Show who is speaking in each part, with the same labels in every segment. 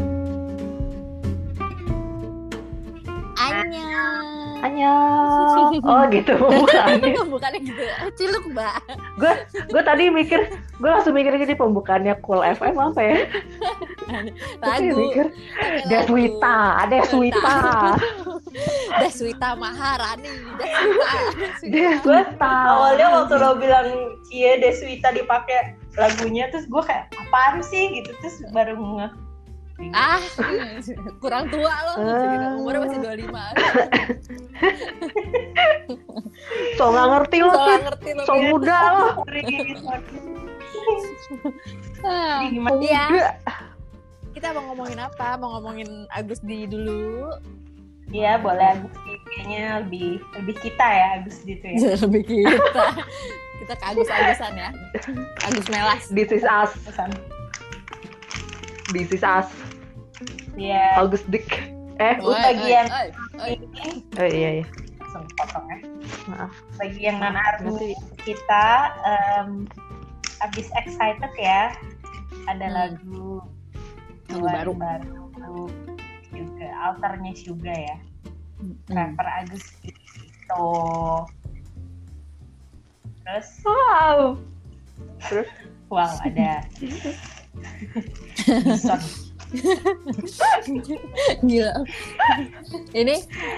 Speaker 1: Annyeong. Oh gitu bukan.
Speaker 2: bukannya gitu ciluk mbak
Speaker 1: gue gue tadi mikir gue langsung mikir gini pembukaannya cool FM apa ya? Terus dia
Speaker 2: lagu
Speaker 1: mikir Deswita, Deswita,
Speaker 2: Deswita Maharani Deswita Deswita
Speaker 1: Deswita.
Speaker 3: awalnya waktu lo bilang Cie Deswita Iya, dipakai lagunya terus gue kayak apaan sih gitu terus baru nge
Speaker 2: ah kurang tua loh gitu. umurnya masih 25
Speaker 1: so nggak ngerti lo
Speaker 2: soalnya
Speaker 1: Tit.
Speaker 2: ngerti lo
Speaker 1: so
Speaker 2: Tit.
Speaker 1: muda lo,
Speaker 3: Sorry, sorry.
Speaker 2: Ah.
Speaker 3: Jadi gimana
Speaker 1: so
Speaker 2: Iya.
Speaker 1: muda.
Speaker 2: kita mau ngomongin apa mau ngomongin Agus di dulu
Speaker 3: Iya boleh Agus sih. kayaknya lebih lebih kita ya Agus gitu ya
Speaker 2: lebih kita kita ke Agus Agusan ya Agus Melas
Speaker 1: This is us,
Speaker 3: pesan
Speaker 1: this is us.
Speaker 3: Iya
Speaker 1: August Dick. Eh,
Speaker 3: Oi, bagian.
Speaker 2: oi, oi.
Speaker 3: ini
Speaker 1: oh, iya iya.
Speaker 3: langsung potong ya
Speaker 1: Maaf.
Speaker 3: bagi yang non army
Speaker 1: Nanti
Speaker 3: kita em, habis excited ya ada
Speaker 2: Hmm.
Speaker 3: lagu
Speaker 2: Lagu
Speaker 3: keluar
Speaker 2: baru.
Speaker 3: baru juga alternya juga ya
Speaker 2: Hmm.
Speaker 3: rapper Agus itu terus
Speaker 1: Wow.
Speaker 3: wow ada Bison.
Speaker 2: Gila. Ini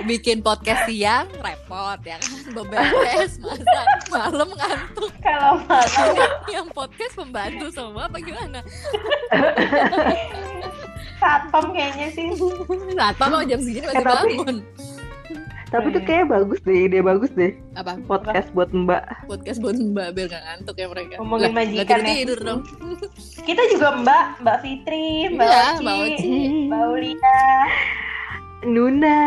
Speaker 2: bikin podcast siang repot ya kan beberes masak malam ngantuk
Speaker 3: kalau malam
Speaker 2: yang podcast membantu semua apa gimana?
Speaker 3: satpam kayaknya sih
Speaker 2: Rata mau jam segini masih
Speaker 1: Eh, tapi-
Speaker 2: bangun.
Speaker 1: Tapi tuh kayaknya bagus deh, ide bagus deh.
Speaker 2: Apa
Speaker 1: Podcast buat Mbak.
Speaker 2: podcast buat Mbak biar gak ngantuk ya mereka?
Speaker 3: Ngomongin
Speaker 2: Lah,
Speaker 3: majikan
Speaker 2: nggak
Speaker 3: ya.
Speaker 2: tidur dong.
Speaker 3: kita juga Mbak Mbak Fitri Mbak
Speaker 2: Iya, Mbak
Speaker 3: Mbak
Speaker 2: Oci.
Speaker 3: Oci Mbak Ulia
Speaker 1: Nuna.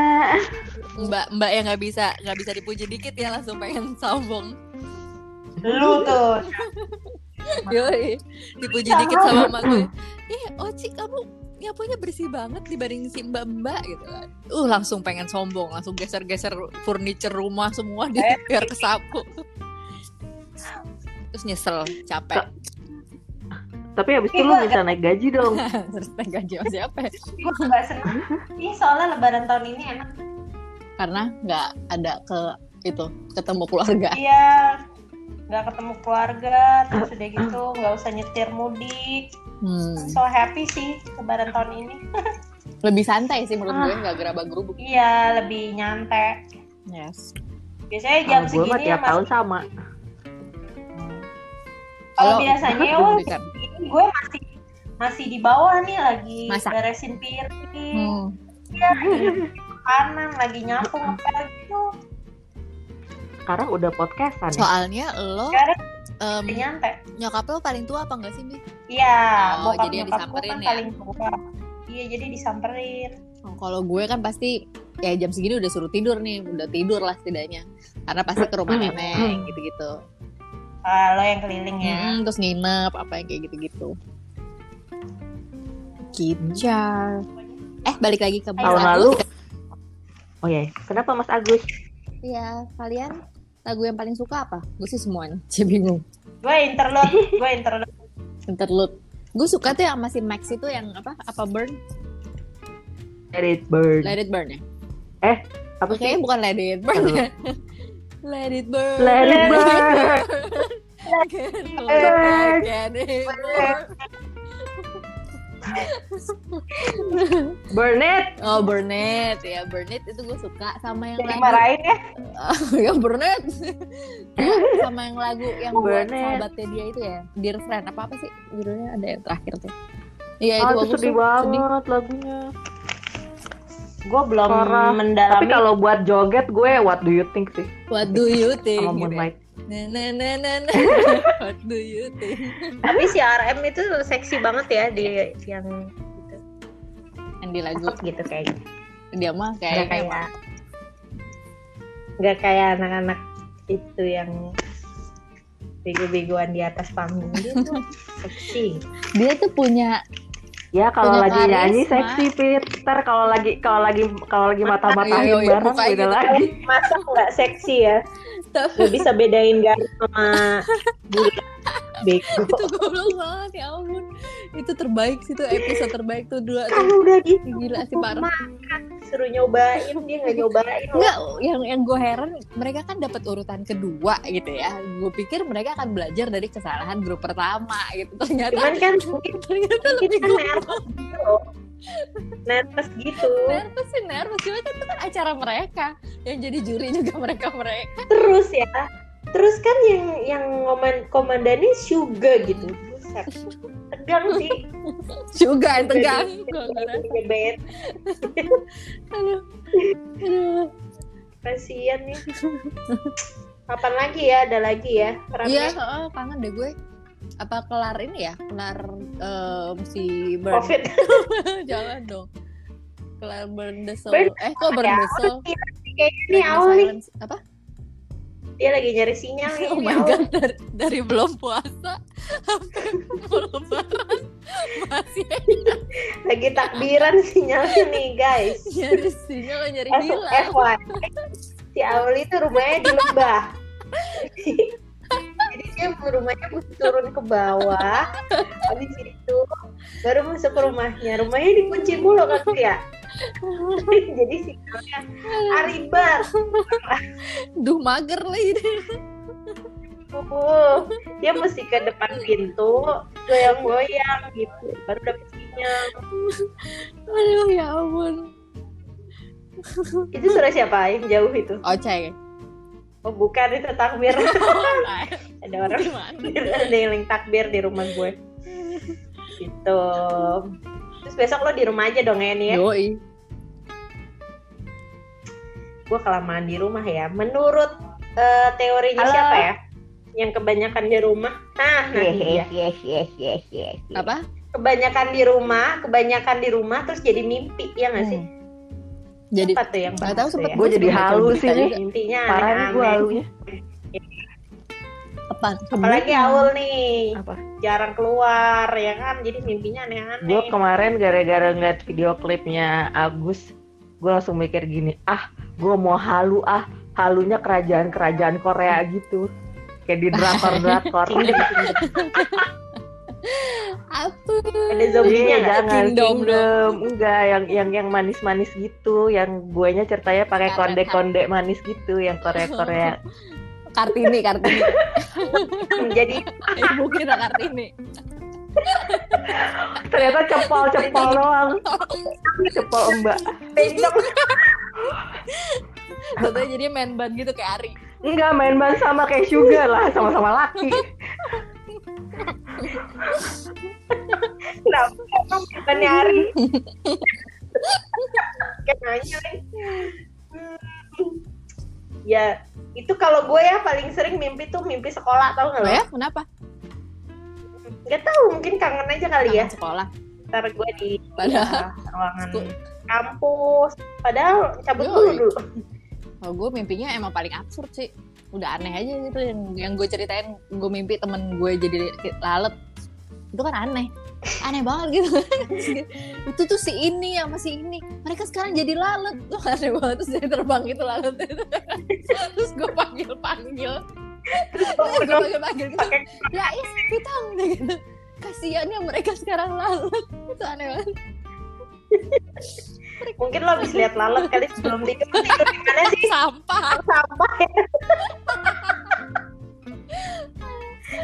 Speaker 2: Mbak Mbak yang nggak bisa nggak bisa dipuji dikit ya langsung pengen sombong.
Speaker 3: lu tuh
Speaker 2: Yoi. Dipuji dikit sama emak gue. Ih, Oci kamu nyapunya bersih banget dibanding si mbak-mbak gitu kan. Uh, langsung pengen sombong, langsung geser-geser furniture rumah semua di
Speaker 3: Eh.
Speaker 2: biar kesapu. Terus nyesel, capek.
Speaker 1: Tapi habis itu
Speaker 3: Iya,
Speaker 1: lu
Speaker 3: gua-
Speaker 1: bisa naik gaji dong.
Speaker 2: Terus naik gaji sama siapa? ya?
Speaker 3: gue nggak seneng Ih, soalnya lebaran tahun ini enak
Speaker 2: Karena nggak ada ke itu ketemu keluarga.
Speaker 3: iya nggak ketemu keluarga terus udah gitu nggak usah nyetir mudik
Speaker 2: Hmm.
Speaker 3: so happy sih lebaran tahun ini
Speaker 2: Lebih santai sih menurut gue, nggak gerabah gerubuk.
Speaker 3: iya lebih nyantai
Speaker 2: Yes.
Speaker 3: biasanya jam
Speaker 1: Kalau gue mah
Speaker 3: segini ya
Speaker 1: tiap tahun
Speaker 3: mas
Speaker 1: sama.
Speaker 3: kalau
Speaker 2: Kalau- kan.
Speaker 3: biasanya
Speaker 2: Belum
Speaker 3: oh
Speaker 2: dikan.
Speaker 3: segini gue masih masih di bawah nih lagi
Speaker 2: Masak.
Speaker 3: beresin piring
Speaker 2: Hmm.
Speaker 3: ya, kanan lagi nyapu ngepel gitu
Speaker 2: Oh.
Speaker 1: Sekarang udah podcastan ya.
Speaker 2: Soalnya lo
Speaker 3: sekarang
Speaker 2: em,
Speaker 3: udah nyantai
Speaker 2: nyokap lo paling tua apa enggak sih, Mi?
Speaker 3: iya
Speaker 2: Oh,
Speaker 3: bokap
Speaker 2: jadi yang
Speaker 3: nyokap gue
Speaker 2: disamperin
Speaker 3: kan
Speaker 2: ya?
Speaker 3: paling tua iya jadi disamperin
Speaker 2: Oh, kalau gue kan pasti ya jam segini udah suruh tidur nih, udah tidur lah setidaknya. Karena pasti ke rumah nenek gitu-gitu.
Speaker 3: kalau yang keliling ya
Speaker 1: Iya.
Speaker 2: Mm, terus nginep apa yang kayak gitu-gitu. Gitu. Eh balik lagi ke
Speaker 1: Tahun
Speaker 2: Agus.
Speaker 1: lalu. Oh iya, kenapa Mas Agus?
Speaker 2: Ya kalian lagu yang paling suka apa? Gue sih semuanya. Cie bingung.
Speaker 3: gue interlude gue interlude
Speaker 2: Interlude. Gue suka tuh yang masih Max itu yang apa? Apa burn?
Speaker 1: Let it burn.
Speaker 2: Let it burn ya.
Speaker 1: Apa
Speaker 2: Oke,
Speaker 1: sih?
Speaker 2: bukan let it burn ya. Let it burn.
Speaker 1: Let it burn.
Speaker 2: Again,
Speaker 1: burn.
Speaker 2: again, it burn.
Speaker 1: burn it.
Speaker 2: Oh Burnett ya Burnett itu gue suka sama yang
Speaker 3: jadi
Speaker 2: lagu
Speaker 3: marahin ya
Speaker 2: ya Burnett Ya, sama yang lagu yang buat
Speaker 1: Burnett.
Speaker 2: sahabatnya dia itu ya Dear Friend apa apa sih judulnya ada yang terakhir tuh Iya
Speaker 1: Ah,
Speaker 2: itu
Speaker 1: itu
Speaker 2: bagus
Speaker 1: sedih
Speaker 2: tuh,
Speaker 1: banget lagunya.
Speaker 3: gue belum
Speaker 1: Parah. Tapi
Speaker 3: mendalami
Speaker 1: kalau buat joget gue what do you think sih?
Speaker 2: What do you think?
Speaker 1: Sama
Speaker 2: Gitu ya.
Speaker 1: Moonlight.
Speaker 2: Na, na, na, na, na. What do you think?
Speaker 3: tapi si RM itu seksi banget ya di yang gitu,
Speaker 2: Yang di lagu
Speaker 3: cakep gitu kayaknya
Speaker 2: dia mah
Speaker 3: nggak
Speaker 2: kayaknya
Speaker 3: kayak nggak kayak anak-anak itu yang bego-begoan di atas panggung gitu seksi
Speaker 2: dia tuh punya
Speaker 1: Ya kalau
Speaker 2: Punya
Speaker 1: lagi
Speaker 2: karisma.
Speaker 1: nyanyi seksi Peter, kalau lagi kalau lagi kalau lagi mata-matain
Speaker 2: Iya, iya, iya,
Speaker 1: bareng
Speaker 2: mukanya
Speaker 1: beda
Speaker 2: gitu.
Speaker 1: lagi.
Speaker 3: masa nggak seksi ya
Speaker 2: Tapi-
Speaker 3: nggak bisa bedain garis sama bego
Speaker 2: itu goblok banget ya ampun itu terbaik sih tuh episode terbaik tuh dua
Speaker 3: kan
Speaker 2: tuh
Speaker 3: udah gitu
Speaker 2: gila sih parah
Speaker 3: makan suruh nyobain dia nggak nyobain loh.
Speaker 2: Enggak, yang yang gue heran mereka kan dapat urutan kedua gitu ya. Gue pikir mereka akan belajar dari kesalahan grup pertama gitu. Ternyata
Speaker 3: cuman kan mungkin
Speaker 2: ternyata
Speaker 3: mungkin
Speaker 2: lebih
Speaker 3: kan
Speaker 2: gue
Speaker 3: nervous gitu loh. nervous gitu
Speaker 2: nervous sih nervous. Cuma kan itu kan acara mereka. Yang jadi juri juga mereka mereka.
Speaker 3: terus ya terus kan yang yang komen komandannya Suga gitu Buset. tegang sih
Speaker 2: Juga yang tegang. Gua ngerasa.
Speaker 3: gebet
Speaker 2: Aduh. Aduh.
Speaker 3: kasihan nih kapan lagi ya ada lagi ya
Speaker 2: Iya,
Speaker 3: Perannya
Speaker 2: heeh, kangen deh gue. Apa kelar ini ya? Kelar em, si burn.
Speaker 3: covid
Speaker 2: Jangan dong. Kelar burn the soul.
Speaker 3: Burn
Speaker 2: Eh, kok burn
Speaker 3: Ya,
Speaker 2: the soul?
Speaker 3: awal nih, kayaknya
Speaker 2: Burn the
Speaker 3: nih awal nih
Speaker 2: silence. Apa?
Speaker 3: dia lagi nyari sinyal nih
Speaker 2: Oh
Speaker 3: ini
Speaker 2: my
Speaker 3: awal.
Speaker 2: god, dari, dari belum puasa sampai mau lebaran masih
Speaker 3: lagi takbiran sinyalnya nih guys
Speaker 2: nyari sinyal nyari
Speaker 3: Eh,
Speaker 2: hilang.
Speaker 3: FYI, si Auli itu rumahnya di lembah. Jadi dia rumahnya mesti turun ke bawah. Habis itu baru masuk ke rumahnya. Rumahnya dikunci mulu kan Bu, ya. Jadi sinyalnya Aribar.
Speaker 2: Duh mager lah ini.
Speaker 3: Uh, dia mesti ke depan pintu, goyang-goyang gitu. Baru dapet sinyal.
Speaker 2: Aduh ya ampun.
Speaker 3: Itu suara siapa yang jauh itu?
Speaker 2: Oceng.
Speaker 3: Oh, bukan itu takbir. Ada orang
Speaker 2: Gimana?
Speaker 3: ada yang link takbir di rumah gue gitu terus besok lo di rumah aja dong ya nih ya
Speaker 2: Yoi.
Speaker 3: gue kelamaan di rumah ya menurut eh, teorinya
Speaker 1: Halo.
Speaker 3: siapa ya yang kebanyakan di rumah nah nah iya.
Speaker 1: yes, yes, yes, yes.
Speaker 2: Apa?
Speaker 3: kebanyakan di rumah kebanyakan di rumah terus jadi mimpi ya nggak sih
Speaker 2: Hmm. Jadi
Speaker 3: Siapa tuh Iya. yang
Speaker 2: Nggak
Speaker 3: bahas
Speaker 2: tahu
Speaker 3: tuh
Speaker 2: sempet
Speaker 3: ya?
Speaker 1: Gue jadi
Speaker 2: Baca
Speaker 1: halu sih
Speaker 2: berita
Speaker 1: nih.
Speaker 2: juga.
Speaker 3: mimpinya
Speaker 1: Parah nih gue
Speaker 3: aneh-aneh
Speaker 1: halunya.
Speaker 2: apa?
Speaker 3: apalagi Aul nih
Speaker 1: Apa?
Speaker 3: jarang keluar ya kan jadi mimpinya aneh-aneh
Speaker 1: Gue kemarin gara-gara ngeliat video klipnya Agus, gue langsung mikir gini, ah, gue mau halu ah, halunya kerajaan-kerajaan Korea gitu, kayak di drakor-drakor.
Speaker 2: Apa?
Speaker 3: ada zombinya
Speaker 1: Iya,
Speaker 3: nggak
Speaker 1: jangan
Speaker 2: Kingdom
Speaker 1: kingdom,
Speaker 2: dong.
Speaker 1: enggak yang yang yang manis-manis gitu, yang guanya ceritanya pakai
Speaker 2: Karena-
Speaker 1: konde-konde manis gitu, yang Korea-Korea.
Speaker 2: Kartini, Kartini.
Speaker 3: jadi
Speaker 2: Ibu kita Kartini.
Speaker 1: Ternyata cepol-cepol doang, cepol Mbak.
Speaker 3: besok
Speaker 2: Tentunya jadi main band gitu kayak Ari.
Speaker 1: Enggak main ban sama kayak Sugar lah, sama-sama laki.
Speaker 3: Kenapa emang kita nyari? Kayak nanya Leng. Hmm. Ya, itu kalau gue ya paling sering mimpi tuh mimpi sekolah tau gak
Speaker 2: Oh
Speaker 3: lo?
Speaker 2: ya, kenapa?
Speaker 3: Gak tau, mungkin kangen aja kali ya.
Speaker 2: Kangen Sekolah.
Speaker 3: Ntar gue di
Speaker 2: Padahal
Speaker 3: ya, ruangan
Speaker 2: Sku-
Speaker 3: kampus. Padahal cabut dulu
Speaker 2: Yoi.
Speaker 3: dulu.
Speaker 2: Kalau gue mimpinya emang paling absurd sih. Udah aneh aja gitu yang yang gue ceritain gue mimpi temen gue jadi lalat. Itu kan aneh. Aneh banget gitu. itu tuh si ini sama si ini. Mereka sekarang jadi lalat. Tuh aneh banget terus jadi terbang gitu lalat itu. terus gue panggil-panggil. Terus gue panggil-panggil gitu.
Speaker 3: Pakai
Speaker 2: Ya is, pitang gitu. Kasiannya mereka sekarang lalat. Itu aneh banget.
Speaker 3: mungkin lo habis lihat lalat kali sebelum tidur tidur di mana sih
Speaker 2: Sampah.
Speaker 3: sampah ya?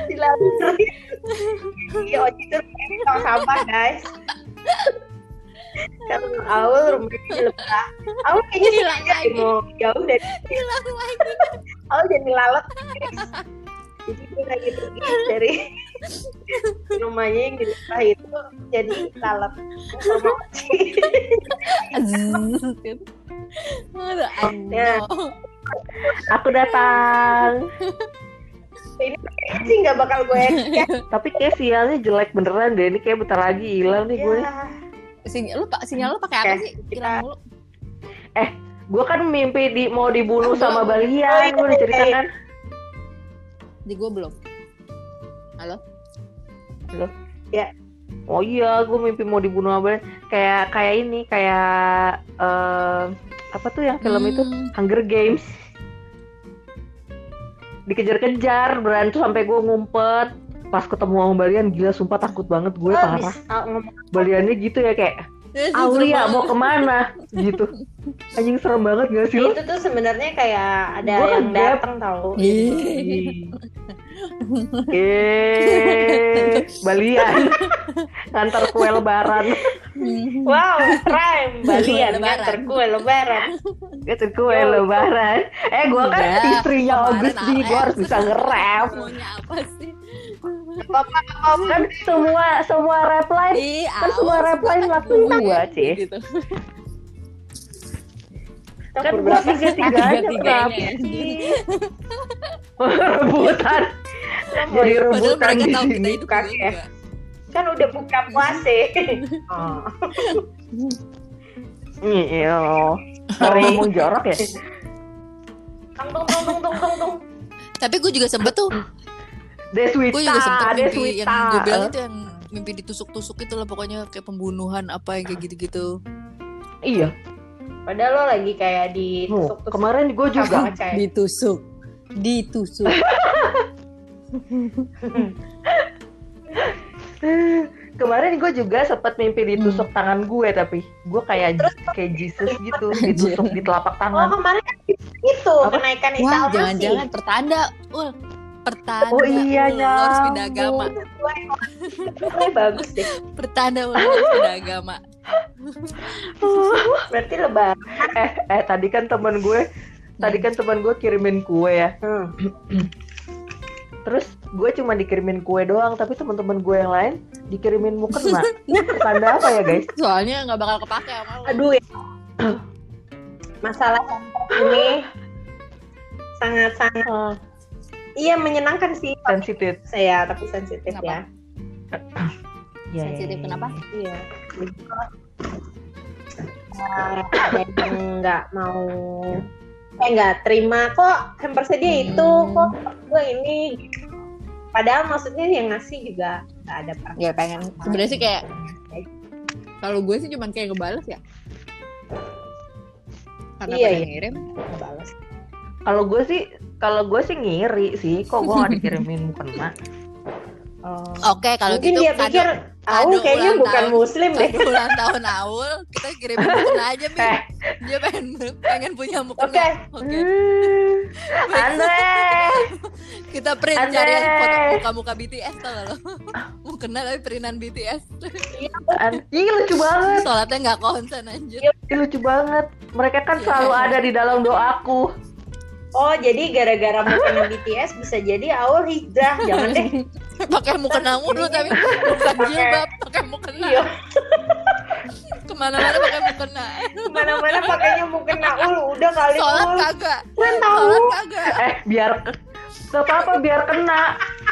Speaker 3: Di lalat. Iya, Oci tuh rumahnya tong sampah guys. Kalau Aul rumahnya di Lebah. Aul kayaknya
Speaker 2: Hilang
Speaker 3: sengaja
Speaker 2: lagi.
Speaker 3: deh mau jauh dari
Speaker 2: Hilang lagi.
Speaker 3: Aul jadi lalat. guys. Jadi dia lagi pergi dari rumahnya yang di Lebah itu jadi lalat. Sama Oci.
Speaker 2: Zzz, gitu. Aduh,
Speaker 3: Ya.
Speaker 2: aneh.
Speaker 1: Aku datang.
Speaker 3: Ini kayaknya sih nggak bakal gue ya.
Speaker 1: Tapi kayak sialnya jelek beneran deh. Ini kayak bentar lagi
Speaker 2: Iya.
Speaker 1: hilang nih
Speaker 3: Iya.
Speaker 1: gue.
Speaker 2: Sinyal lu, pa- sinyal lu pakai apa
Speaker 3: Oke,
Speaker 2: sih?
Speaker 3: kita-
Speaker 2: Hilang mulu.
Speaker 1: Gue kan mimpi di mau dibunuh sama
Speaker 3: Oh,
Speaker 1: balian.
Speaker 3: iya.
Speaker 1: Gue diceritakan.
Speaker 2: Di gua belum.
Speaker 1: Oh iya, gue mimpi mau dibunuh sama balian. Kayak kayak ini, kayak eh, apa tuh yang film itu?
Speaker 2: Hmm,
Speaker 1: Hunger Games. Dikejar-kejar, berantem sampai gue ngumpet. pas ketemu sama Balian gila sumpah takut banget gue
Speaker 3: Wah,
Speaker 1: parah
Speaker 3: bisa ngomong
Speaker 1: Baliannya gitu ya kayak
Speaker 2: Terus
Speaker 1: Aulia
Speaker 2: disuruh-
Speaker 1: mau kemana gitu anjing serem banget gak sih lo
Speaker 3: itu tuh sebenarnya kayak ada
Speaker 1: Gua kan
Speaker 3: yang
Speaker 1: kaget.
Speaker 3: datang tahu
Speaker 2: Ih.
Speaker 1: Eh, Balian ngantar kue lebaran,
Speaker 2: Hmm.
Speaker 3: wow rhyme
Speaker 2: Kue
Speaker 3: balian
Speaker 2: lebaran.
Speaker 3: nganter kue lebaran
Speaker 1: gitu kue lebaran. Eh, gue kan
Speaker 3: Iya,
Speaker 2: Enggak,
Speaker 1: istrinya
Speaker 2: kemarin
Speaker 1: Agus jadi gue
Speaker 2: Alex.
Speaker 1: harus bisa ngerap.
Speaker 2: Maunya apa sih?
Speaker 1: Kan semua semua reply
Speaker 3: Iya.
Speaker 2: Ih,
Speaker 1: Kan semua
Speaker 2: aus,
Speaker 1: reply
Speaker 2: gua
Speaker 1: langsung
Speaker 2: takut.
Speaker 1: gua, Cih.
Speaker 2: Gitu.
Speaker 1: kan gue
Speaker 3: berapa
Speaker 1: tiga tiganya ya.
Speaker 2: Tiga-tiganya.
Speaker 3: Iya,
Speaker 1: rebutan jadi
Speaker 2: Padahal
Speaker 1: rebutan
Speaker 2: mereka
Speaker 1: di
Speaker 2: tahu kita
Speaker 1: sini
Speaker 2: hidup
Speaker 3: kan ya. kan udah buka puasa
Speaker 1: Oh. Iya, kalau ngomong jorok ya.
Speaker 3: tung tung tung tung tung tung tung
Speaker 2: Tapi gue juga sempet tuh
Speaker 1: Deswita,
Speaker 2: Gue juga sempet mimpi yang
Speaker 1: Deswita.
Speaker 2: gue bilang itu yang mimpi ditusuk-tusuk itu lah pokoknya kayak pembunuhan apa yang kayak gitu-gitu.
Speaker 1: Iya,
Speaker 3: padahal lo lagi kayak di
Speaker 1: oh, kemarin gue juga.
Speaker 2: Ditusuk. Ditusuk.
Speaker 1: Kemarin gue juga sempat mimpi ditusuk tangan gue tapi gue kayak kayak Jesus gitu ditusuk di telapak
Speaker 3: oh
Speaker 1: tangan.
Speaker 3: kemarin kan itu
Speaker 1: Apa?
Speaker 3: kenaikan
Speaker 2: Wah,
Speaker 3: instalasi
Speaker 2: jangan-jangan pertanda. Ul, pertanda.
Speaker 1: Oh, iya,
Speaker 2: Ul, Lo harus
Speaker 1: nyambung.
Speaker 2: pindah agama.
Speaker 3: Wah, bagus deh
Speaker 2: Pertanda Ul, lo harus pindah agama.
Speaker 3: berarti lebar
Speaker 1: eh, eh tadi kan teman gue, tadi kan teman gue kirimin kue ya. Terus gue cuma dikirimin kue doang tapi teman-teman gue yang lain dikirimin mukena. Ini pertanda apa ya guys?
Speaker 2: Soalnya nggak bakal kepake sama lo.
Speaker 3: aduh ya. masalah ini sangat-sangat
Speaker 1: Ah,
Speaker 3: iya menyenangkan sih
Speaker 1: sensitif.
Speaker 3: saya tapi sensitif
Speaker 2: Kenapa?
Speaker 1: Ya, ya,
Speaker 2: Sensitif
Speaker 1: ya,
Speaker 2: kenapa?
Speaker 1: ya.
Speaker 3: ya iya Eh, ada yang nggak mau eh nggak terima kok hampersnya dia itu
Speaker 2: Hmm.
Speaker 3: kok gue ini padahal maksudnya yang ngasih juga nggak ada perasaan
Speaker 2: Ya pengen. Sebenarnya sih kayak kalau gue sih cuman kayak ngebales ya. Karena
Speaker 3: Iya,
Speaker 2: pada
Speaker 3: iya.
Speaker 2: ngirim.
Speaker 3: nggak balas.
Speaker 1: Kalau gue sih, kalau gue sih ngiri sih. Kok gue gak dikirimin mukena?
Speaker 2: Oke, kalau
Speaker 3: Oh. mungkin
Speaker 2: gitu
Speaker 3: dia
Speaker 2: kado-
Speaker 3: pikir Aul
Speaker 2: kado
Speaker 3: kayaknya
Speaker 2: ulang
Speaker 3: bukan
Speaker 2: tahun."
Speaker 3: muslim deh
Speaker 2: Kado ulang tahun Aul, kita kirimin mukena aja, Mi.
Speaker 1: Eh.
Speaker 2: Dia pengen pengen punya mukena.
Speaker 3: Oke. Hmm,
Speaker 2: Oke. Baik.
Speaker 1: Andre.
Speaker 2: Kita print
Speaker 1: Andre.
Speaker 2: cari yang foto muka-muka BTS tau gak lo? Mukena tapi printan BTS.
Speaker 1: An- Ih lucu banget,
Speaker 2: Sholatnya nggak konsen anjir.
Speaker 1: Ih, lucu banget. Mereka kan
Speaker 2: Iya,
Speaker 1: selalu ada di dalam doaku.
Speaker 3: oh jadi gara-gara mungkin BTS bisa jadi Aul hijrah jangan deh
Speaker 2: Pakai mukena mulu tapi bukan jilbab, pakai mukena.
Speaker 3: Iya.
Speaker 2: Kemana-mana pakai mukena.
Speaker 3: mana-mana pakainya mungkin Aul udah kali
Speaker 2: Sholat kan?
Speaker 3: Aul
Speaker 2: kagak.
Speaker 3: gue tahu
Speaker 2: Sholat kagak.
Speaker 1: Eh biar Gak apa-apa biar kena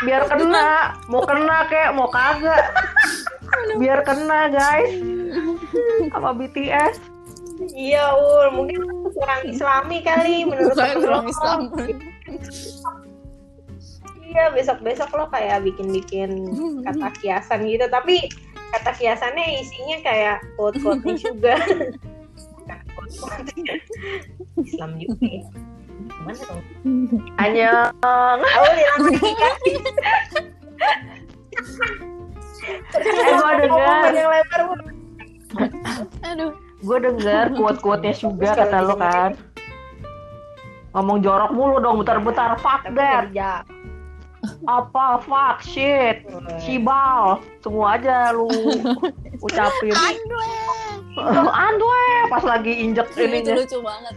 Speaker 1: Biar kena Mau kena kek Mau kagak Biar kena guys Sama BTS
Speaker 3: iya Aul mungkin kurang islami kali menurut
Speaker 2: Bukan
Speaker 3: lo.
Speaker 2: orang Islam.
Speaker 3: iya besok-besok lo kayak bikin-bikin kata kiasan gitu tapi kata kiasannya isinya kayak quote-quote nih juga Bukan quote-quote. Islam juga ya Gimana dong?
Speaker 1: Hanya
Speaker 3: Aul yang dikasih
Speaker 1: Eh gue
Speaker 3: omongan
Speaker 1: denger
Speaker 3: yang lebar Aul.
Speaker 2: Aduh.
Speaker 1: Gue denger quote-quote-nya juga Kata lo kan Ngomong jorok mulu dong Bentar-bentar Fuck
Speaker 3: tapi
Speaker 1: that
Speaker 3: kerja
Speaker 1: Apa fuck shit Sibal Semua aja lu Ucapin Andwe Pas lagi injek
Speaker 2: Ini
Speaker 1: ininya
Speaker 2: lucu banget.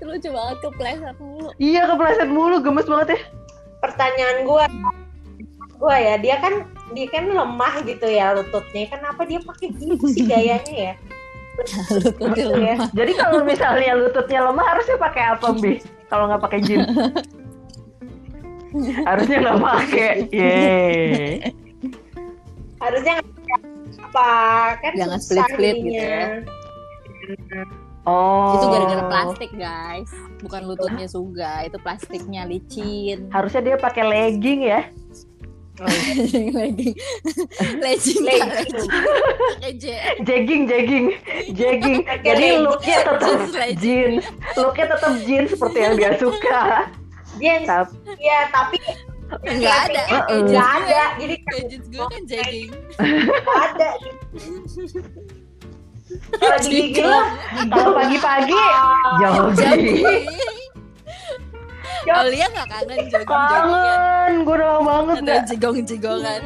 Speaker 2: Itu lucu banget kepleset mulu.
Speaker 1: Iya kepleset mulu gemes banget
Speaker 2: Iya.
Speaker 1: ya.
Speaker 3: pertanyaan gue gue ya dia kan dia kan lemah gitu ya lututnya kenapa dia pakai gitu sih gayanya ya
Speaker 2: Lu kutil.
Speaker 3: Gitu ya.
Speaker 1: Iya. Jadi kalau misalnya lututnya lemah harusnya pakai apa bi? Kalau nggak pakai jeans. harusnya nggak pakai. Yeay.
Speaker 3: harusnya apa kan
Speaker 2: Jangan
Speaker 3: susah
Speaker 2: split-split gitu
Speaker 3: ininya.
Speaker 1: Oh.
Speaker 2: Itu gara-gara plastik guys Bukan lututnya suga Itu plastiknya licin
Speaker 1: Harusnya dia pakai legging ya.
Speaker 2: Legging Lecin
Speaker 3: Lay.
Speaker 2: kan Pakai J
Speaker 1: Jegging, jegging, jegging. Jadi Iya, looknya tetap
Speaker 2: Jeans legging.
Speaker 1: jeans. Looknya tetap jeans seperti yang dia suka.
Speaker 3: Jeans
Speaker 1: Tapi
Speaker 3: ya tapi
Speaker 4: Nggak ada.
Speaker 1: Heeh.
Speaker 4: Agents
Speaker 3: Nggak
Speaker 4: gue-
Speaker 3: ada. Jadi
Speaker 4: Agents gue kan jagging.
Speaker 3: nggak ada. Kalau di gigi Ah. lah.
Speaker 1: Kalau pagi-pagi jogging.
Speaker 4: Jagging. Alia Oh, nggak kangen jogging-joggingan.
Speaker 1: Kangen, gue udah banget
Speaker 4: Ada
Speaker 1: gak.
Speaker 4: jigong-jigongan.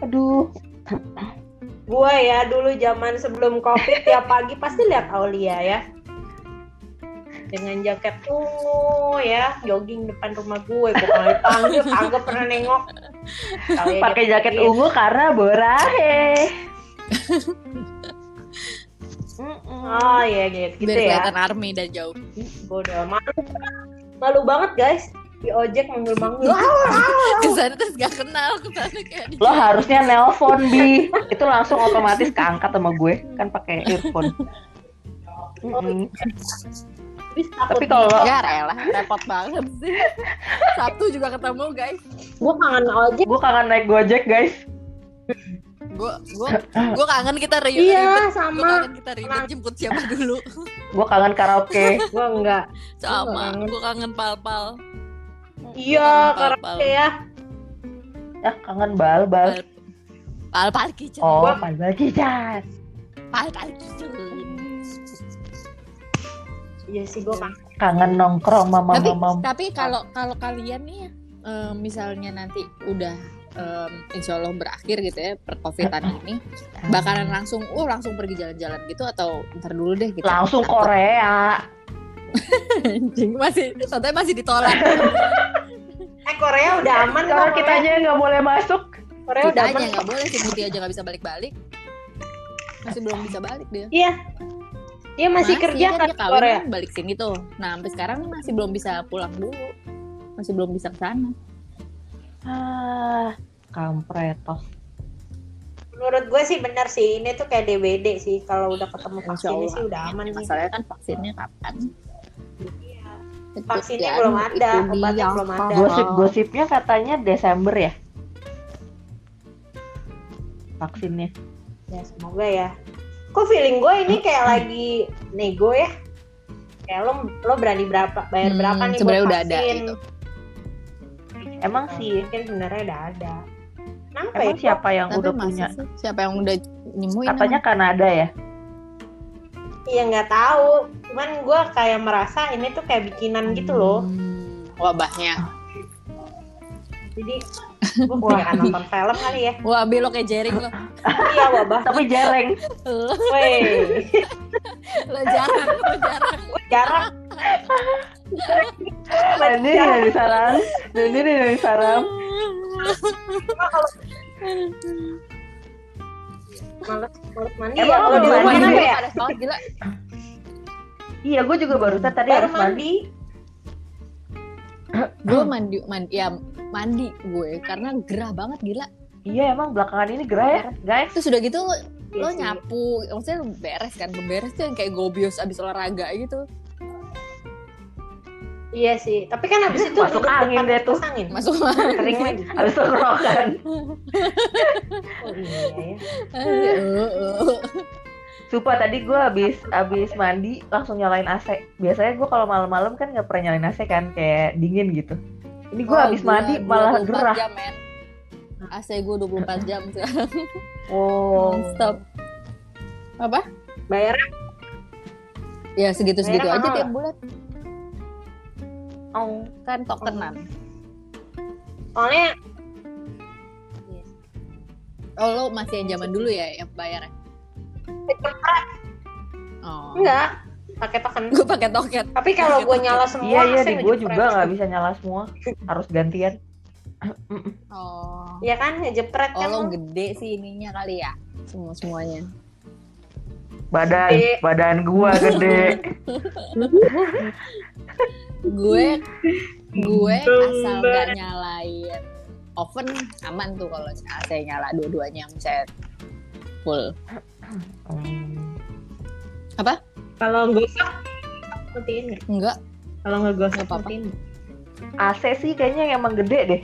Speaker 1: Aduh,
Speaker 3: Gue ya dulu zaman sebelum covid tiap pagi pasti lihat Aulia ya. Dengan jaket ungu ya, jogging depan rumah gue. Gue kalau dipanggil, kagak pernah nengok. ya, Kali aja
Speaker 1: pakai jaket
Speaker 3: pergi.
Speaker 1: ungu karena borahe.
Speaker 3: Oh iya gitu, gitu
Speaker 4: Biar
Speaker 3: ya.
Speaker 4: kelihatan army dan jauh.
Speaker 3: Bodoh malu. Malu banget guys. Di ojek manggil-manggil.
Speaker 4: Kesana terus gak kenal. Kesana kayak di
Speaker 1: Lo harusnya nelpon bi, itu langsung otomatis keangkat sama gue kan pakai earphone. Mm-mm.
Speaker 3: Habis takut
Speaker 1: Tapi kalau
Speaker 4: Ya rela, repot banget sih. Sabtu juga ketemu guys.
Speaker 3: gue kangen ojek.
Speaker 1: gue kangen naik gojek guys,
Speaker 4: Gue gue gue kangen kita ribet. Gue
Speaker 3: Iya sama.
Speaker 4: kangen kita ribet jemput siapa dulu.
Speaker 1: gue kangen karaoke.
Speaker 3: Gue enggak.
Speaker 4: Sama. Gue kangen pal-pal.
Speaker 3: Iya
Speaker 4: Pal-pal.
Speaker 3: karaoke ya.
Speaker 1: Ah kangen bal bal.
Speaker 4: Pal-pal kicau.
Speaker 1: Oh, bal bal kicat.
Speaker 4: Pal-pal kicau.
Speaker 3: Iya sih gue kangen.
Speaker 1: Kangen nongkrong mama
Speaker 2: tapi
Speaker 1: mama.
Speaker 2: tapi kalau kalau kalian nih ya, eh, misalnya nanti udah em, insya Allah berakhir gitu ya perkovidan ini bakalan langsung uh langsung pergi jalan-jalan gitu atau ntar dulu deh gitu
Speaker 1: Langsung Korea.
Speaker 4: Anjing masih santai masih ditolak.
Speaker 3: Eh Korea udah aman
Speaker 1: Kalau Iya,
Speaker 3: kok,
Speaker 1: kita
Speaker 3: Korea.
Speaker 1: aja nggak boleh masuk,
Speaker 3: Korea
Speaker 4: Kita
Speaker 3: udah
Speaker 4: aja
Speaker 3: aman.
Speaker 4: nggak boleh si Putih aja nggak bisa balik-balik. Masih belum bisa balik dia.
Speaker 3: Iya. Dia masih, kerja
Speaker 2: kan
Speaker 3: kan
Speaker 2: dia
Speaker 3: di
Speaker 2: kawin
Speaker 3: Korea.
Speaker 2: kan balik sini tuh nah sampai sekarang nih masih belum bisa pulang dulu masih belum bisa ke sana
Speaker 1: Ah, kampretos.
Speaker 3: Menurut gue sih benar sih. Ini tuh kayak DBD sih. Kalau udah ketemu
Speaker 2: Insya
Speaker 3: vaksinnya
Speaker 2: Allah.
Speaker 3: sih udah aman nih.
Speaker 2: masalahnya kan vaksinnya kapan Itu kan,
Speaker 3: Vaksinnya belum ada,
Speaker 2: itu dia. Iya,
Speaker 3: obatnya belum ada.
Speaker 1: Gosip-gosipnya katanya Desember ya. Vaksinnya.
Speaker 3: Ya semoga ya. Kok feeling gue ini kayak
Speaker 2: Hmm.
Speaker 3: lagi nego ya? Kayak lo lo berani berapa bayar
Speaker 2: Hmm,
Speaker 3: berapa nih
Speaker 2: sebenarnya
Speaker 3: buat
Speaker 2: udah ada
Speaker 3: vaksin?
Speaker 2: gitu.
Speaker 1: Emang sih,
Speaker 3: Mungkin sebenarnya udah ada. Kenapa
Speaker 1: emang
Speaker 3: ya?
Speaker 1: siapa yang
Speaker 2: Tapi
Speaker 1: udah
Speaker 2: masih
Speaker 1: punya?
Speaker 2: sih, siapa yang udah nyemuin
Speaker 1: Katanya Kanada ya.
Speaker 3: Iya nggak tahu. Cuman gue kayak merasa ini tuh kayak bikinan gitu loh.
Speaker 2: Hmm, wabahnya
Speaker 3: Jadi gue kayak nonton film kali ya.
Speaker 2: wah belok kayak jering lo
Speaker 3: Iya wabah.
Speaker 1: Tapi jereng.
Speaker 3: Weh,
Speaker 2: lo jarang lo jarang
Speaker 3: jarak.
Speaker 1: Ini dari sarang. Ini dari sarang.
Speaker 3: Males, males
Speaker 1: Emang
Speaker 3: mandi. ya,
Speaker 2: Oh,
Speaker 1: lo
Speaker 3: kalau di
Speaker 1: belum
Speaker 3: rumah
Speaker 1: mandi?
Speaker 3: kenapa ya?
Speaker 2: Panas banget, gila
Speaker 1: Iya, gue juga baru tadi
Speaker 3: Baru
Speaker 1: harus mandi.
Speaker 3: mandi.
Speaker 2: gue mandi mandi ya mandi gue karena gerah banget gila
Speaker 1: Iya, emang belakangan ini gerah ya, guys.
Speaker 2: terus udah gitu lo,
Speaker 3: Iya
Speaker 2: lo
Speaker 3: sih.
Speaker 2: nyapu maksudnya lo beres kan beres tuh yang kayak gobios abis olahraga gitu
Speaker 3: Iya sih. Tapi kan abis itu
Speaker 1: Masuk
Speaker 3: duduk
Speaker 1: angin
Speaker 3: depan
Speaker 1: deh tuh.
Speaker 3: kipas Angin.
Speaker 2: masuk
Speaker 3: Kering lagi.
Speaker 1: Habis tenggorokan.
Speaker 3: Oh iya ya.
Speaker 1: Sumpah tadi gue abis abis mandi langsung nyalain AC. Biasanya gue kalau malam-malam kan nggak pernah nyalain AC kan, kayak dingin gitu. Ini gue abis mandi malah gerah.
Speaker 2: jam, men. AC gue 24 jam sih
Speaker 1: Wow.
Speaker 2: stop
Speaker 3: Bayar
Speaker 2: ya segitu segitu
Speaker 3: Bayarnya
Speaker 2: aja
Speaker 3: mahal.
Speaker 2: tiap bulan
Speaker 1: Oh.
Speaker 2: kan tokenan
Speaker 3: soalnya
Speaker 2: oh lo masih yang zaman dulu ya yang bayar oh
Speaker 3: enggak pakai token.
Speaker 2: gue pakai token
Speaker 3: Tapi kalau gue nyala semua,
Speaker 1: Iya iya
Speaker 3: saya
Speaker 1: di gue
Speaker 3: ngejepret.
Speaker 1: juga nggak bisa nyala semua, harus gantian.
Speaker 2: oh
Speaker 3: Iya kan ngejepret
Speaker 2: Oh
Speaker 3: kan.
Speaker 2: lo gede sih ininya kali ya semua semuanya.
Speaker 1: Badan
Speaker 3: Gede.
Speaker 1: badan gua gede.
Speaker 2: Gue gue asal
Speaker 3: Sumber.
Speaker 2: nggak nyalain oven aman tuh kalau saya nyala dua-duanya misalnya full.
Speaker 1: Hmm.
Speaker 3: Kalau gosok matiin nggak?
Speaker 2: Enggak,
Speaker 3: Kalau nggak gosok
Speaker 2: Nggak apa-apa.
Speaker 3: matiin. nggak?
Speaker 1: AC sih kayaknya emang gede deh.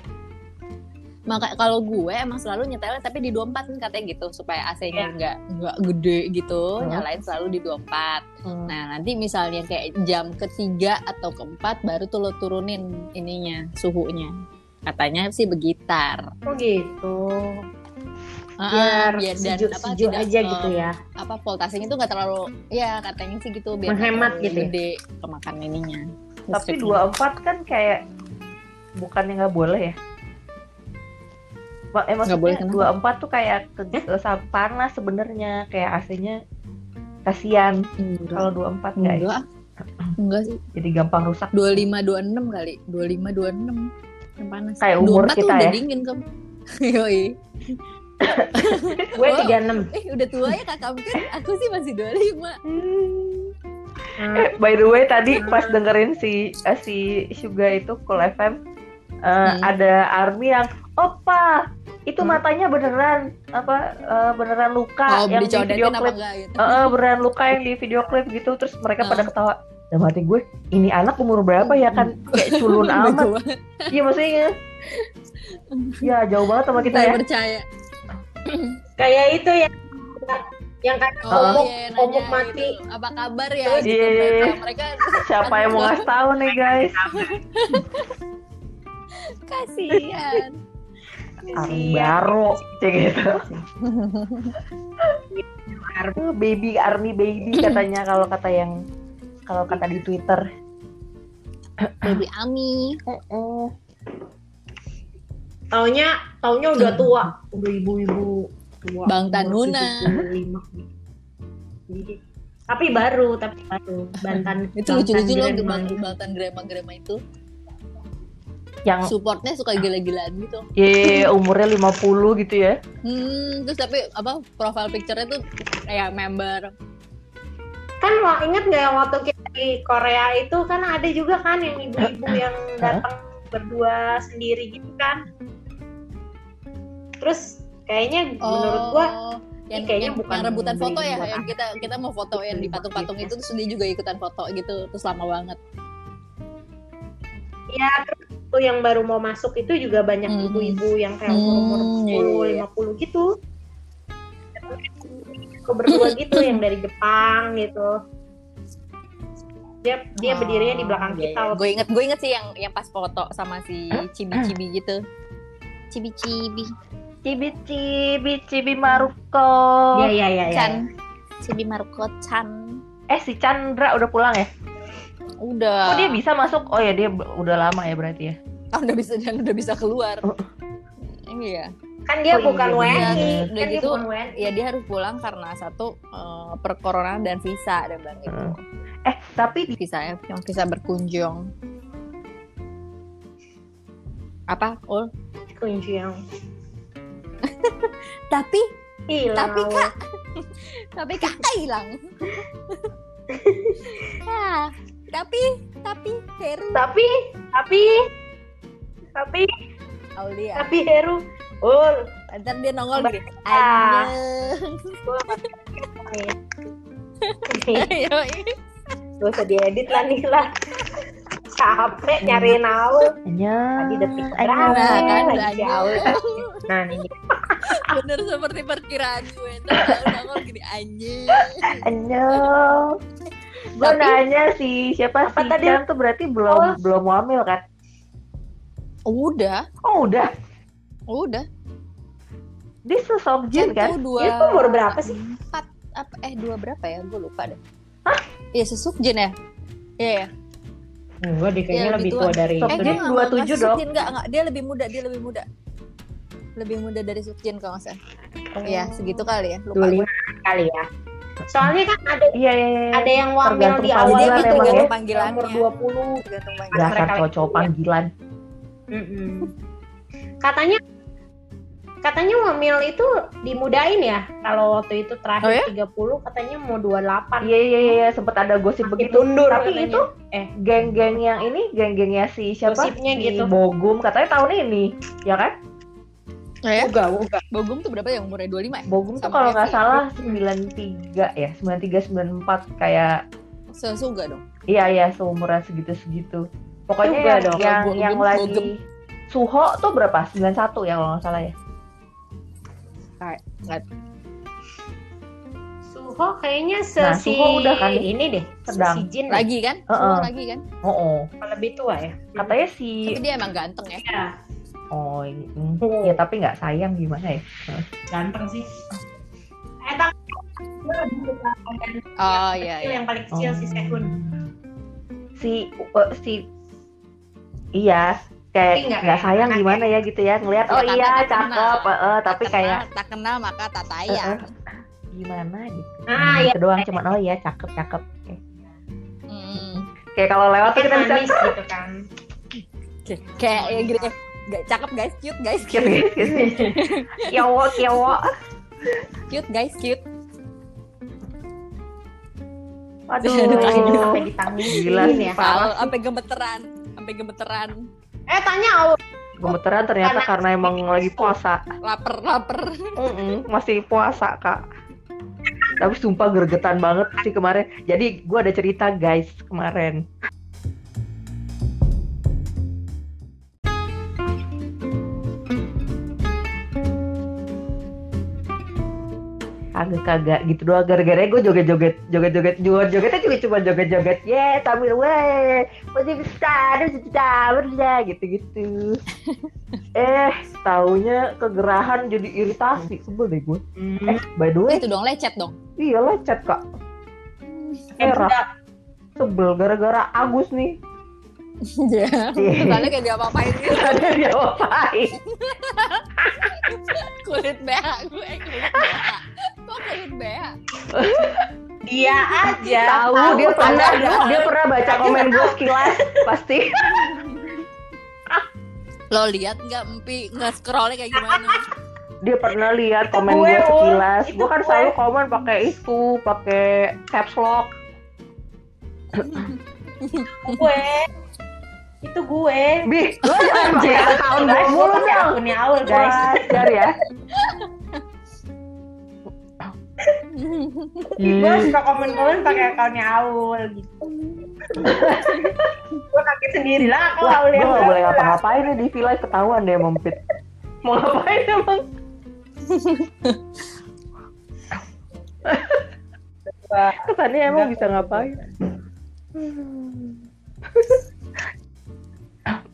Speaker 2: maka kalau gue emang selalu nyetelnya tapi di 24 kan katanya gitu supaya
Speaker 3: Iya.
Speaker 2: AC-nya nggak nggak gede gitu,
Speaker 1: Hmm.
Speaker 2: nyalain selalu di 24.
Speaker 3: Hmm.
Speaker 2: Nah, nanti misalnya kayak jam ketiga atau keempat baru tuh lo turunin ininya, suhunya. katanya sih begitar
Speaker 3: Oh gitu.
Speaker 2: Ah,
Speaker 3: Biar
Speaker 2: biar dan
Speaker 3: sejuk
Speaker 2: apa
Speaker 3: sejuk
Speaker 2: tidak,
Speaker 3: aja
Speaker 2: eh,
Speaker 3: gitu ya.
Speaker 2: apa voltasenya itu nggak terlalu ya katanya sih gitu biar nggak
Speaker 3: Menghemat
Speaker 2: terlalu
Speaker 3: gitu ya?
Speaker 2: gede kemakan ininya
Speaker 1: Tapi
Speaker 2: listriknya.
Speaker 1: 24 kan kayak bukannya nggak boleh ya? Ma- Eh,
Speaker 2: Nggak boleh
Speaker 1: maksudnya
Speaker 2: kenapa?
Speaker 1: 24 tuh kayak ke, ke- panas sebenarnya kayak AC-nya kasihan
Speaker 2: enggak
Speaker 1: kalau 24 nggak ya?
Speaker 2: enggak ah. enggak sih
Speaker 1: Jadi gampang rusak.
Speaker 2: 25 26 kali 25 26 yang panas
Speaker 1: Kayak umur
Speaker 2: 24
Speaker 1: kita
Speaker 2: tuh udah
Speaker 1: ya.
Speaker 2: dingin kamu Yoi.
Speaker 3: Gue
Speaker 2: Wow.
Speaker 3: 36.
Speaker 2: Eh udah tua ya kakak Mungkin aku sih masih 25
Speaker 3: Nah,
Speaker 1: Eh, by the way tadi pas dengerin si eh, si Suga itu Cool FM eh,
Speaker 2: Hmm.
Speaker 1: ada Army yang opa itu matanya beneran apa eh, beneran luka
Speaker 2: Kalau
Speaker 1: yang di video
Speaker 2: dicodetin apa
Speaker 1: klip
Speaker 2: enggak gitu
Speaker 1: Eh, eh, beneran luka yang di video klip gitu terus mereka
Speaker 2: Ah.
Speaker 1: pada ketawa dan mati gue ini anak umur berapa ya kan kayak culun amat
Speaker 2: Bego banget.
Speaker 1: iya maksudnya ya jauh banget sama kita
Speaker 3: Iya,
Speaker 2: Nggak
Speaker 1: ya
Speaker 2: percaya
Speaker 3: Kayak itu ya yang
Speaker 1: Eh,
Speaker 3: kayak
Speaker 2: Oh,
Speaker 3: komuk,
Speaker 2: iya, nanya
Speaker 3: komuk
Speaker 2: gitu.
Speaker 3: mati.
Speaker 2: Apa kabar ya?
Speaker 1: Terus-
Speaker 2: Gitu,
Speaker 1: Iya.
Speaker 2: mereka, mereka
Speaker 1: siapa yang mau ngasih tahu nih guys
Speaker 2: kasihan.
Speaker 1: Army
Speaker 3: Iya.
Speaker 1: baru kayak gitu Aduh, baby army baby katanya kalau kata yang kalau kata di Twitter.
Speaker 2: Baby Ami.
Speaker 3: Taunya taunya udah tua, udah ibu-ibu tua.
Speaker 2: Hmm. Bang
Speaker 3: Umur
Speaker 2: Tanuna.
Speaker 3: 75. Jadi, Tapi baru, tapi baru. Bantan.
Speaker 2: Itu lucu-lucu loh di
Speaker 3: Bantan Grand
Speaker 1: gitu.
Speaker 2: bang-
Speaker 3: Mall.
Speaker 2: Bantan grema-grema itu.
Speaker 1: Yang
Speaker 2: Supportnya suka gila-gilaan gitu.
Speaker 1: ye umurnya 50 gitu
Speaker 3: Iya,
Speaker 1: ya.
Speaker 2: Hmm, terus tapi apa profile picture-nya tuh kayak member.
Speaker 3: Kan lo inget nggak yang waktu kita di Korea itu kan ada juga kan yang ibu-ibu yang datang berdua sendiri gitu kan. Terus kayaknya menurut gua
Speaker 2: Oh. yang,
Speaker 3: kayaknya
Speaker 2: yang-
Speaker 3: bukan Iya.
Speaker 2: yang rebutan foto ya,
Speaker 3: buat
Speaker 2: yang kita kita mau foto yang di patung-patung itu terus dia juga ikutan foto gitu, terus lama banget.
Speaker 3: ya terus tuh yang baru mau masuk itu juga banyak
Speaker 2: Mhm.
Speaker 3: ibu-ibu yang kayak umur
Speaker 2: Hmm, iya,
Speaker 3: umur
Speaker 2: iya, iya.
Speaker 3: 10 50 gitu. Aku berdua gitu yang dari Jepang gitu. Dia dia berdirinya di belakang
Speaker 2: iya,
Speaker 3: kita. waktu
Speaker 2: Gue Oh. inget, gue inget sih yang yang pas foto sama si cibi-cibi gitu. Cibi-cibi,
Speaker 1: Cibi cibi cibi Maruko.
Speaker 3: Iya iya iya. iya.
Speaker 2: Chan, cibi Maruko Chan.
Speaker 1: Eh si Chandra udah pulang ya?
Speaker 2: Udah.
Speaker 1: Oh dia bisa masuk? Oh ya dia b- udah lama ya berarti ya.
Speaker 2: Ah, udah bisa dan udah bisa keluar.
Speaker 1: Oh.
Speaker 2: Iya.
Speaker 3: Kan dia
Speaker 1: Oh,
Speaker 3: bukan
Speaker 1: iya,
Speaker 3: WNI.
Speaker 1: benar.
Speaker 3: Kan
Speaker 2: Udah
Speaker 3: dia
Speaker 2: gitu,
Speaker 3: bukan WNI.
Speaker 2: Ya dia harus pulang karena satu eh, perkoronan dan visa dan bilang gitu.
Speaker 1: Heeh. Eh tapi di
Speaker 2: Visa F yang visa berkunjung. Apa? Ul?
Speaker 3: Kunjung.
Speaker 2: Tapi
Speaker 3: Hilang.
Speaker 2: Tapi, Kak, tapi kakak hilang. Ah, tapi tapi Heru
Speaker 3: tapi tapi tapi
Speaker 2: Aulia.
Speaker 3: tapi Heru. Oh,
Speaker 2: Ntar dia nongol gitu.
Speaker 3: Ah.
Speaker 2: Anjeng.
Speaker 3: nih. Gak usah diedit lah nih lah. Capek nyariin Aul.
Speaker 1: Nya,
Speaker 3: Tadi detik
Speaker 1: ayo.
Speaker 3: berapa?
Speaker 2: Nah, kan
Speaker 3: Lagi
Speaker 2: udah
Speaker 3: si Aul. Nah, ini
Speaker 2: Bener seperti perkiraan gue. Ntar dia nongol gini anjing.
Speaker 1: Anyo. Gue
Speaker 2: Tapi-
Speaker 1: nanya si siapa
Speaker 3: Apa
Speaker 1: si
Speaker 3: tadi? Oh.
Speaker 1: Chan tuh berarti belum belum hamil kan?
Speaker 2: Udah,
Speaker 1: Oh udah.
Speaker 2: udah.
Speaker 1: Dia sesomjin kan?
Speaker 2: Itu dua.
Speaker 3: Dia tuh umur berapa sih?
Speaker 2: Empat apa eh dua berapa ya? Gue lupa deh. Hah? Iya sesukjen ya. Iya, iya.
Speaker 3: Enggak deh, kayaknya
Speaker 2: Iya, lebih
Speaker 3: lebih tua
Speaker 2: tua.
Speaker 3: dari
Speaker 1: Stop.
Speaker 3: itu
Speaker 1: Eh,
Speaker 3: deh.
Speaker 1: dia 27 dong.
Speaker 2: Sukjin enggak, enggak, dia lebih muda, dia lebih muda. Lebih muda dari Sukjin kalau nggak salah. Iya,
Speaker 1: Hmm.
Speaker 2: segitu kali ya. Lupa gue.
Speaker 3: 25 kali ya. Soalnya kan ada
Speaker 1: Iya iya iya.
Speaker 3: ada yang wamil
Speaker 1: Hmm. Tergantung
Speaker 3: di
Speaker 1: kalau
Speaker 3: awal
Speaker 1: dia
Speaker 3: ada
Speaker 1: gitu,
Speaker 3: yang
Speaker 1: gitu
Speaker 2: panggilannya.
Speaker 3: ya. Umur 20.
Speaker 2: Tergantung banyak.
Speaker 1: Dasar
Speaker 3: mereka-
Speaker 1: cowok-cowok panggilan.
Speaker 3: Mm-mm. Katanya katanya wamil itu dimudain ya. Kalau waktu itu
Speaker 2: Oh,
Speaker 3: terakhir 30 katanya mau 28.
Speaker 1: Iya iya iya sempet ada gosip begitu.
Speaker 3: Ditundur
Speaker 1: Tapi
Speaker 3: katanya.
Speaker 1: itu
Speaker 3: eh
Speaker 1: geng-geng yang ini geng-gengnya si siapa?
Speaker 3: Gosipnya
Speaker 1: si
Speaker 3: gitu.
Speaker 1: Bogum katanya tahun ini, ya kan?
Speaker 2: Oh, ya?
Speaker 3: uga uga.
Speaker 2: Bogum tuh berapa ya umurnya 25 ya?
Speaker 1: Bogum tuh
Speaker 2: Sama
Speaker 1: kalau nggak
Speaker 2: Evi.
Speaker 1: salah 93 ya, 93 94 kayak
Speaker 2: Sesuga dong.
Speaker 1: iya iya seumuran segitu-segitu. Pokoknya
Speaker 3: Juga
Speaker 1: yang
Speaker 3: dong,
Speaker 1: yang,
Speaker 2: Bogum,
Speaker 1: yang lagi
Speaker 2: Bogum.
Speaker 1: Suho tuh berapa? 91 ya kalau nggak salah ya.
Speaker 3: Suho kayaknya se
Speaker 1: Nah,
Speaker 3: si
Speaker 1: Suho udah kan?
Speaker 3: ini deh.
Speaker 1: Sedang.
Speaker 3: Si Jin deh.
Speaker 2: Lagi kan?
Speaker 1: Heeh.
Speaker 2: Suho lagi kan?
Speaker 1: Oh, oh.
Speaker 3: lebih tua ya.
Speaker 1: katanya
Speaker 2: Tapi
Speaker 1: si
Speaker 2: dia emang ganteng ya.
Speaker 3: Iya.
Speaker 1: oh mm, ya tapi nggak sayang gimana ya
Speaker 3: ganteng sih eh tapi gue lebih suka konten
Speaker 2: Oh
Speaker 3: kecil,
Speaker 2: iya iya.
Speaker 3: yang paling kecil si Sehun
Speaker 1: Oh. si eh, si iya
Speaker 3: Tapi
Speaker 1: kayak
Speaker 3: nggak
Speaker 1: nggak
Speaker 3: kayak
Speaker 1: sayang
Speaker 3: anak
Speaker 1: gimana ya gitu ya ngelihat
Speaker 2: Iya,
Speaker 1: oh
Speaker 2: karena
Speaker 1: iya
Speaker 2: tak kenal.
Speaker 1: cakep eh, eh, tapi
Speaker 2: Tak
Speaker 1: kayak
Speaker 2: kenal, tak kenal maka tak tayang.
Speaker 1: gimana gitu
Speaker 3: ah
Speaker 1: Gitu
Speaker 3: ya
Speaker 1: doang cuman oh iya cakep cakep
Speaker 2: Mm.
Speaker 1: kayak kalau lewat tuh
Speaker 3: kan
Speaker 1: kita bisa
Speaker 3: manis gitu kan
Speaker 2: Kayak kayak ya gitu kayak "Gak- cakep guys, cute guys,
Speaker 1: Gitu, gitu, gitu. Kiowo, kiowo.
Speaker 2: cute guys, cute.
Speaker 1: Aduh,
Speaker 3: Tangan sampai ditangisin
Speaker 1: gila sih
Speaker 3: ya.
Speaker 1: parah.
Speaker 2: Tahu, sampai gemeteran, sampai gemeteran,
Speaker 3: eh tanya Aul
Speaker 1: Gemeteran ternyata
Speaker 3: Karena-
Speaker 1: karena emang lagi puasa.
Speaker 2: lapar lapar.
Speaker 1: Mm-mm, masih puasa kak. Tapi sumpah gergetan banget sih kemarin. Jadi gue ada cerita guys kemarin. kagak-kagak gitu doang gara-gara gue joget-joget joget-joget joget jogetnya juga cuma joget-joget ye tampil weh masih bisa harus bisa berda gitu-gitu eh taunya kegerahan jadi iritasi sebel deh gue eh by the way
Speaker 2: Itu Gitu dong lecet dong.
Speaker 1: iya lecet kak
Speaker 3: eh
Speaker 1: Era.
Speaker 3: budak
Speaker 1: sebel gara-gara Agus nih
Speaker 2: Iya. Soalnya kayak diapa-apain gitu.
Speaker 1: ada dia ngapain
Speaker 2: kulit bea gue eh, kulit bea kok kulit bea
Speaker 3: dia aja
Speaker 1: tahu dia pernah dia pernah baca komen gue sekilas pasti
Speaker 2: lo lihat nggak empi nge scrollnya kayak gimana
Speaker 1: dia pernah lihat komen
Speaker 3: gue,
Speaker 1: gue
Speaker 3: Ul.
Speaker 1: sekilas
Speaker 3: Itu
Speaker 1: gue kan
Speaker 3: gue.
Speaker 1: selalu komen pakai itu pakai caps lock
Speaker 3: gue itu gue
Speaker 1: bi lo jangan pakai
Speaker 3: Anjir.
Speaker 1: akun gue
Speaker 3: Guys,
Speaker 1: mulu
Speaker 3: pakai
Speaker 1: dong
Speaker 3: akunnya Aul guys
Speaker 1: wajar ya
Speaker 3: gue
Speaker 1: Hmm.
Speaker 3: suka komen-komen pakai akunnya Aul gitu gue kaget sendiri lah kalau
Speaker 1: Wah,
Speaker 3: Aul ya.
Speaker 1: gue
Speaker 3: yang
Speaker 1: gak boleh
Speaker 3: berapa.
Speaker 1: ngapa-ngapain nih di villa ketahuan deh mempit. kan? Mau ngapain emang? Kesannya emang bisa ngapain?
Speaker 3: Hmm.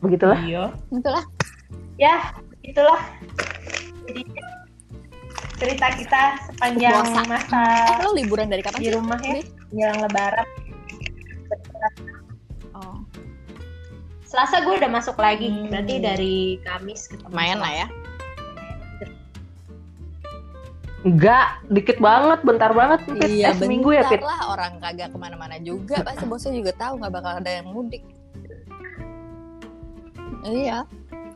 Speaker 1: Begitulah.
Speaker 3: Iya.
Speaker 2: itulah
Speaker 3: ya itulah Jadi, cerita kita sepanjang
Speaker 2: Puasa.
Speaker 3: masa
Speaker 2: eh lo liburan dari kapan
Speaker 3: di
Speaker 2: sih
Speaker 3: rumah ya menjelang lebaran
Speaker 2: oh,
Speaker 3: Selasa gue udah masuk lagi berarti dari Kamis ke
Speaker 2: lumayan lah ya
Speaker 1: Enggak, dikit banget, bentar banget. Pit. Eh, seminggu ya, Pit.
Speaker 2: Iya, bentar lah orang kagak kemana-mana juga pasti bosnya juga tahu nggak bakal ada yang mudik iya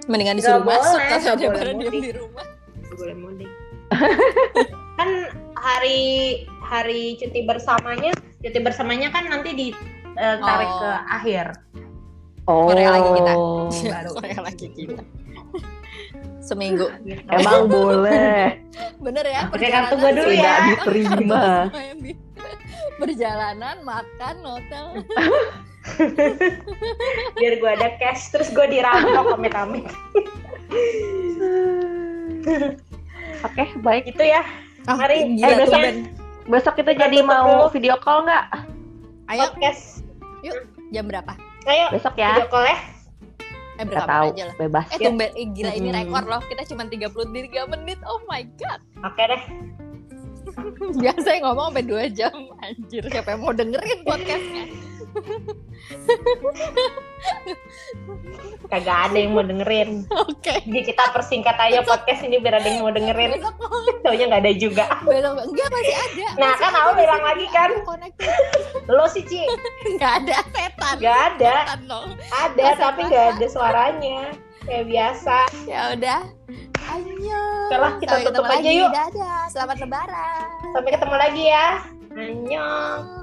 Speaker 2: mendingan
Speaker 3: Nggak
Speaker 2: disuruh masuk
Speaker 3: boleh,
Speaker 2: kan
Speaker 3: nggak
Speaker 2: daripada
Speaker 3: boleh
Speaker 2: diem
Speaker 3: mudik.
Speaker 2: di rumah
Speaker 3: boleh mudik kan hari hari cuti bersamanya cuti bersamanya kan nanti ditarik
Speaker 2: Oh.
Speaker 3: ke akhir
Speaker 1: Oh.
Speaker 2: Korea lagi kita.
Speaker 3: Baru.
Speaker 2: Kayak lagi kita seminggu
Speaker 3: gitu.
Speaker 1: Emang boleh.
Speaker 2: bener ya
Speaker 3: Pakai kartu gua dulu
Speaker 2: sih.
Speaker 1: Tidak
Speaker 3: ya.
Speaker 2: Iya.
Speaker 1: diterima.
Speaker 2: ya. perjalanan makan hotel
Speaker 3: biar gue ada cash terus gue dirampok amit-amit
Speaker 1: Oke, baik.
Speaker 3: gitu ya
Speaker 2: Ah,
Speaker 3: Mari,
Speaker 2: gila,
Speaker 3: eh, besok.
Speaker 2: tumben.
Speaker 1: Besok kita
Speaker 3: Kita
Speaker 1: jadi
Speaker 3: tutup
Speaker 1: mau
Speaker 3: dulu.
Speaker 1: video call nggak?
Speaker 2: ayo
Speaker 3: podcast
Speaker 2: jam berapa
Speaker 3: ayo
Speaker 1: Besok
Speaker 3: video
Speaker 1: ya.
Speaker 3: call ya
Speaker 2: eh
Speaker 1: Nggak
Speaker 2: berapa
Speaker 1: tahu,
Speaker 2: aja lah
Speaker 1: bebas.
Speaker 2: eh tumben eh, gila ini
Speaker 1: Mm.
Speaker 2: rekor loh kita cuma 33 menit oh my god
Speaker 3: oke deh
Speaker 2: biasanya ngomong sampai 2 jam anjir siapa yang mau dengerin podcastnya
Speaker 3: kagak ada yang mau dengerin
Speaker 2: oke
Speaker 3: jadi kita persingkat aja podcast ini biar ada yang mau dengerin
Speaker 2: besok
Speaker 3: taunya nggak ada juga
Speaker 2: besok enggak masih ada
Speaker 3: Nah,
Speaker 2: Masih
Speaker 3: kan
Speaker 2: ada
Speaker 3: aku
Speaker 2: di
Speaker 3: bilang
Speaker 2: sini.
Speaker 3: lagi kan.
Speaker 2: Aku connect.
Speaker 3: lo sih Ci
Speaker 2: nggak ada setan
Speaker 3: nggak ada
Speaker 2: setan dong
Speaker 3: ada
Speaker 2: Masa
Speaker 3: tapi nggak ada suaranya kayak biasa
Speaker 2: ya udah ayo
Speaker 3: Oke lah, kita
Speaker 2: Sampai
Speaker 3: tutup
Speaker 2: ketemu
Speaker 3: aja
Speaker 2: lagi.
Speaker 3: yuk.
Speaker 2: dadah selamat lebaran
Speaker 3: sampai ketemu lagi ya annyeong